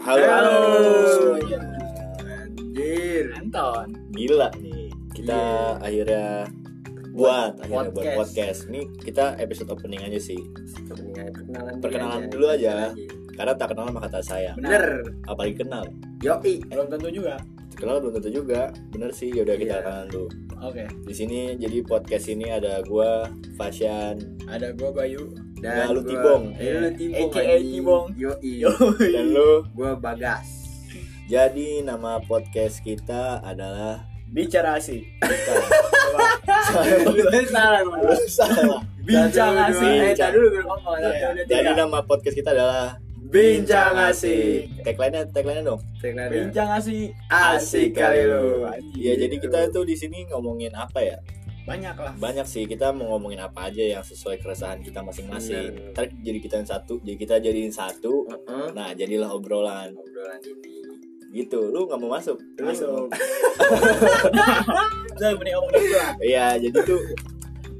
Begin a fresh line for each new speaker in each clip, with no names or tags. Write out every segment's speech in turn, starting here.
Halo.
Halo.
semuanya.
Anjir.
Anton.
Gila nih. Kita
Iya.
akhirnya buat akhirnya buat
podcast.
podcast. Nih kita episode opening aja sih.
Perkenalan dulu
Perkenalan
aja.
dulu aja. Karena tak kenal maka tak sayang.
Bener.
Apalagi kenal.
Yoi.
Nah, Belum tentu juga.
Kenal belum tentu juga. Bener sih. Yaudah kita
Iya.
kenalan dulu.
Oke,
Di sini jadi podcast ini ada gua, Fasyan,
ada gua Bayu.
Nah, lu
gua-
Tibong.
Eh, lu Tibong.
AKA
anjing.
Tibong.
Yoi.
dan lu.
Gua Bagas.
Jadi nama podcast kita adalah
Bicara asik.
Bukan.
Salah gua.
Lu salah.
Bincang
Satu, dua,
asik. Eh,
bincang.
tadi dulu gua ngomong. Satu, dua,
Jadi
tiga.
nama podcast kita adalah
Bincang asik.
Tagline-nya tagline-nya dong.
Tagline-nya,
Bincang asik.
Asik kali lu.
Iya, jadi
Gitu.
kita tuh di sini ngomongin apa ya?
Banyak lah.
Banyak sih kita mau ngomongin apa aja yang sesuai keresahan kita
Bener.
masing-masing. Ntar jadi kita yang satu, jadi kita jadiin satu.
Heeh.
Nah, jadilah obrolan
Oh, Obrolan ini.
gitu. Lu nggak mau masuk?
Masuk. Udah, mending ngomong dulu lah.
Iya, jadi tuh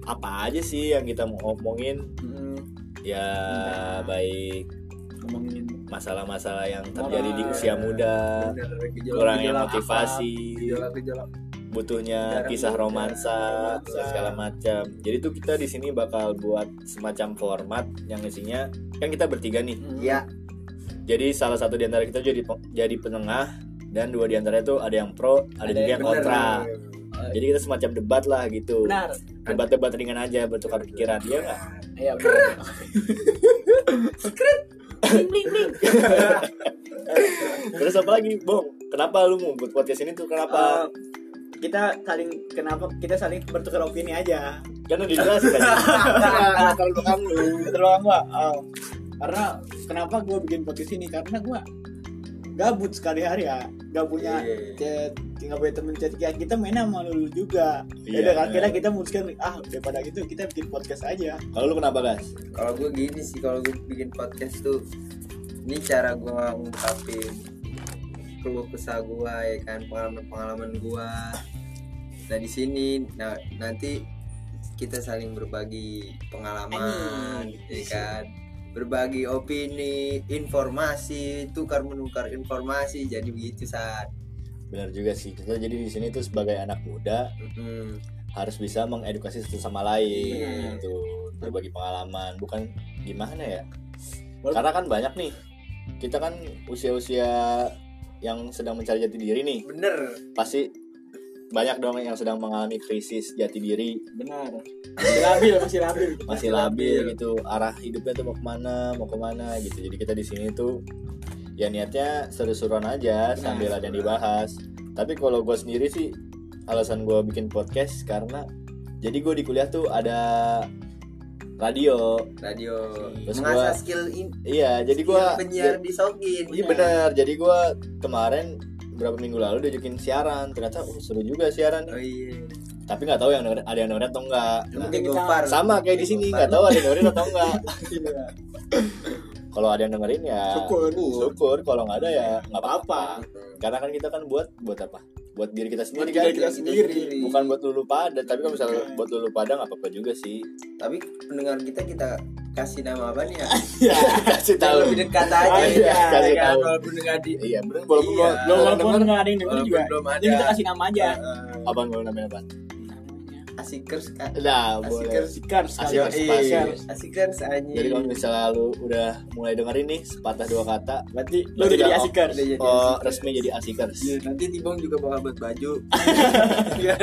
apa aja sih yang kita mau ngomongin?
Mm,
Ya
Nah.
baik
Ngomongin
masalah-masalah yang terjadi di
Moral.
usia muda,
Bener, gejolak-
kurangnya
gejolak
motivasi,
Gejolak-gejolak.
butuhnya
Jarang
kisah
juga.
romansa
Romansa.
segala macam. Jadi tuh kita di sini bakal buat semacam format yang isinya kan kita bertiga nih.
Mm,
Iya.
Jadi salah satu di antara kita jadi pe- jadi penengah dan dua di antaranya tuh ada yang pro, ada,
Ada
juga
yang
yang
Bener.
kontra. Jadi kita semacam debat lah gitu.
Benar.
Debat-debat ringan aja bertukar pikiran ya nggak?
Iya, benar. Sekret. Bling bling.
Terus apa lagi, Bong? Kenapa lu mau buat podcast ini tuh
Eh,
kenapa?
kita saling kenapa kita saling bertukar opini aja
Karena dijelasin kan.
kalau kamu terlalu gua eh, karena kenapa gue bikin podcast ini karena gue gabut sekali hari ya gak punya
Iya.
chat nggak punya temen chat ya kita main sama lulu juga
Iya.
ya akhirnya kita memutuskan ah daripada gitu kita bikin podcast aja
Kalau lu kenapa, Gas?
kalau gue gini sih kalau gue bikin podcast tuh ini cara gue ngungkapin keluh kesah gue ya kan pengalaman pengalaman gue nah di sini nah, nanti kita saling berbagi pengalaman ya kan berbagi opini informasi tukar menukar informasi jadi begitu saat
Benar juga sih. Kita jadi di sini tuh sebagai anak muda
Mm-mm.
harus bisa mengedukasi satu sama lain
Iya.
gitu berbagi pengalaman bukan gimana ya
Walaupun-
karena kan banyak nih kita kan usia-usia yang sedang mencari jati diri nih
bener
pasti banyak dong yang sedang mengalami krisis jati diri
benar masih labil masih labil
masih labil gitu arah hidupnya tuh mau kemana mau kemana gitu jadi kita di sini tuh ya niatnya seru-seruan aja sambil ada yang dibahas tapi kalau gue sendiri sih alasan gue bikin podcast karena jadi gue di kuliah tuh ada radio
radio
Terus
mengasah
gua-
skill in
iya jadi gue
skill penyiar di Sokin
iya benar jadi gue kemarin berapa minggu lalu diajakin siaran ternyata oh, seru juga siaran
oh iya
tapi nggak tahu yang denger- ada yang dengerin atau enggak
Nah,
Mungkin kita-
Gopar.
sama kayak di sini nggak tahu ada yang dengerin atau enggak
Ah,
kalau ada yang dengerin ya
syukur
syukur kalau nggak ada ya nggak apa-apa
Heeh.
karena kan kita kan buat buat apa buat diri kita sendiri
diri
kan
kita sendiri.
bukan buat lulu pada tapi kalau misalnya
Bukan.
buat lulu pada nggak apa-apa juga sih
tapi pendengar kita kita kasih nama apa nih ya
kasih
kita
tahu
lebih dekat aja
Iya,
ya
kasih
kan?
tahu.
walaupun dengar di
iya bener walaupun
Iya.
gua- gua-
walaupun
denger
nggak ada yang denger
walaupun
juga
belum ada
ini kita kasih nama
ya.
aja
Heeh.
apa nggak namanya apa
asikers kan
nah boleh
asikers
sikar sekali
Asikers, asikers.
asikers anjing
jadi kalau misalnya lu udah mulai dengerin nih sepatah dua kata
berarti lu
Berarti
udah jadi
udah-
asikar
Udah jadi
oh,
asikers.
resmi jadi asikers
Iya, nanti Tibong juga bakal buat baju Iya.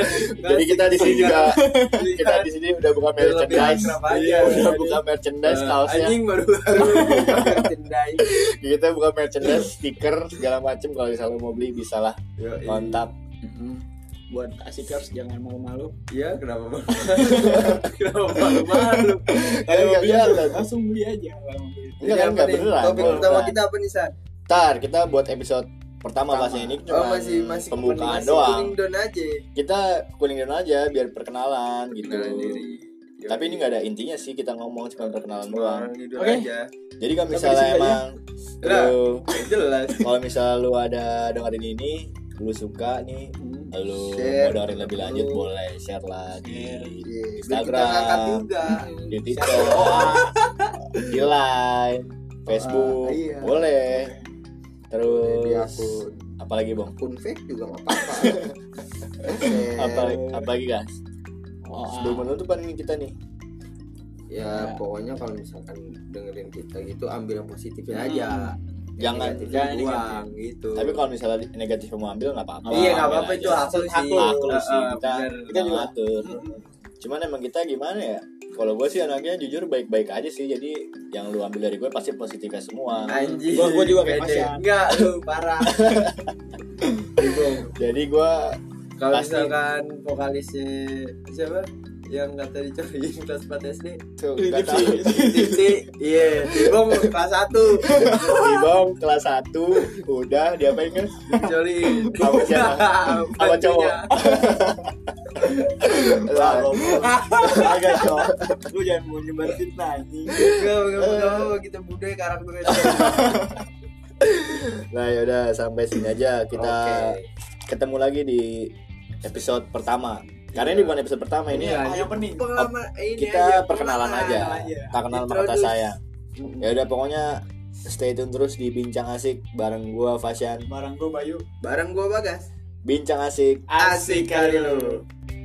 jadi kita di sini juga kita di sini udah buka
Lebih
merchandise
akrab aja.
Iya, udah
Jadi-
buka merchandise kaosnya
anjing baru baru merchandise
kita buka merchandise stiker segala macem kalau misalnya mau beli bisa lah
Yoi.
kontak
Mm-mm. Mm-hmm. buat asikers jangan malu-malu
iya kenapa malu kenapa malu malu
Ayo,
Kalau
iya,
beli,
kan?
langsung beli aja kalau beli.
Enggak, kan, enggak beneran.
topik
Beneran.
pertama kita apa nih San
Ntar kita buat episode pertama
Pertama.
pastinya ini
Oh
cuma
masih masih
pembukaan
masih
doang.
kuning down aja.
Kita kuning down aja biar perkenalan gitu.
Kenalan diri.
Tapi ini nggak ada intinya sih kita ngomong cuma perkenalan doang.
Kenalan diri
Oke.
aja.
Jadi kalau
Tapi
misalnya
disini aja.
emang
Lah.
lu
Yang jelas.
kalau misalnya lu ada dengerin ini, lu suka nih, lu
Share.
mau dengerin lebih lanjut
Lu.
boleh share lah di
Share.
Biar Kita
Instagram.
ngangkat juga.
di TikTok, di Line, Facebook,
Ah, iya.
boleh. terus
Jadi akun
apalagi bong
akun fake juga nggak apa-apa.
apa
Share.
apalagi guys
Oh,
ah.
sebelum penutupan nih kita nih
ya pokoknya kalau misalkan dengerin kita gitu ambil yang positifnya
Hmm.
aja. Yang
Jangan-
negatifnya
jangan
dibuang gitu.
tapi kalau misalnya negatif mau ambil nggak apa-apa
iya nggak
ambil
apa-apa
aja.
itu aku
Maksud
sih.
aku,
aku
Eh,
sih
eh,
kita
bener.
kita juga
Nah,
atur cuman emang kita gimana ya kalau gue sih anaknya jujur baik-baik aja sih jadi yang lu ambil dari gue pasti positifnya semua
Anjing.
Gua- gua juga kayak
pede.
Pasya.
Enggak, lu parah. Bingung.
jadi gue
Kalau
Pasti.
misalkan vokalisnya siapa? Yang kata dicuriin kelas 4 SD.
tuh
Ini
nggak
sih.
tahu
Titi, iya, Bimo kelas 1
di bawah kelas 1 udah diapain kan
dicuriin.
Apa siapa? Apa cowok?
Ah,
lah
agak cok. Lu jangan mau nyebar fitnah anjing.
Enggak, enggak, enggak, enggak, kita budaya karakternya.
nah yaudah sampai sini aja kita ketemu lagi di episode pertama karena
Iya.
ini bukan episode pertama ini
Iya.
Ayo pening.
Pengalaman ini aja,
kita Iya, perkenalan aja
pengalaman.
aja.
tak kenal maka tak
Introduce.
sayang ya udah pokoknya stay tune terus di bincang asik bareng gua Fasyan
Barang gua Bayu.
Bareng gua Bagas.
bincang asik
Asik kali lu.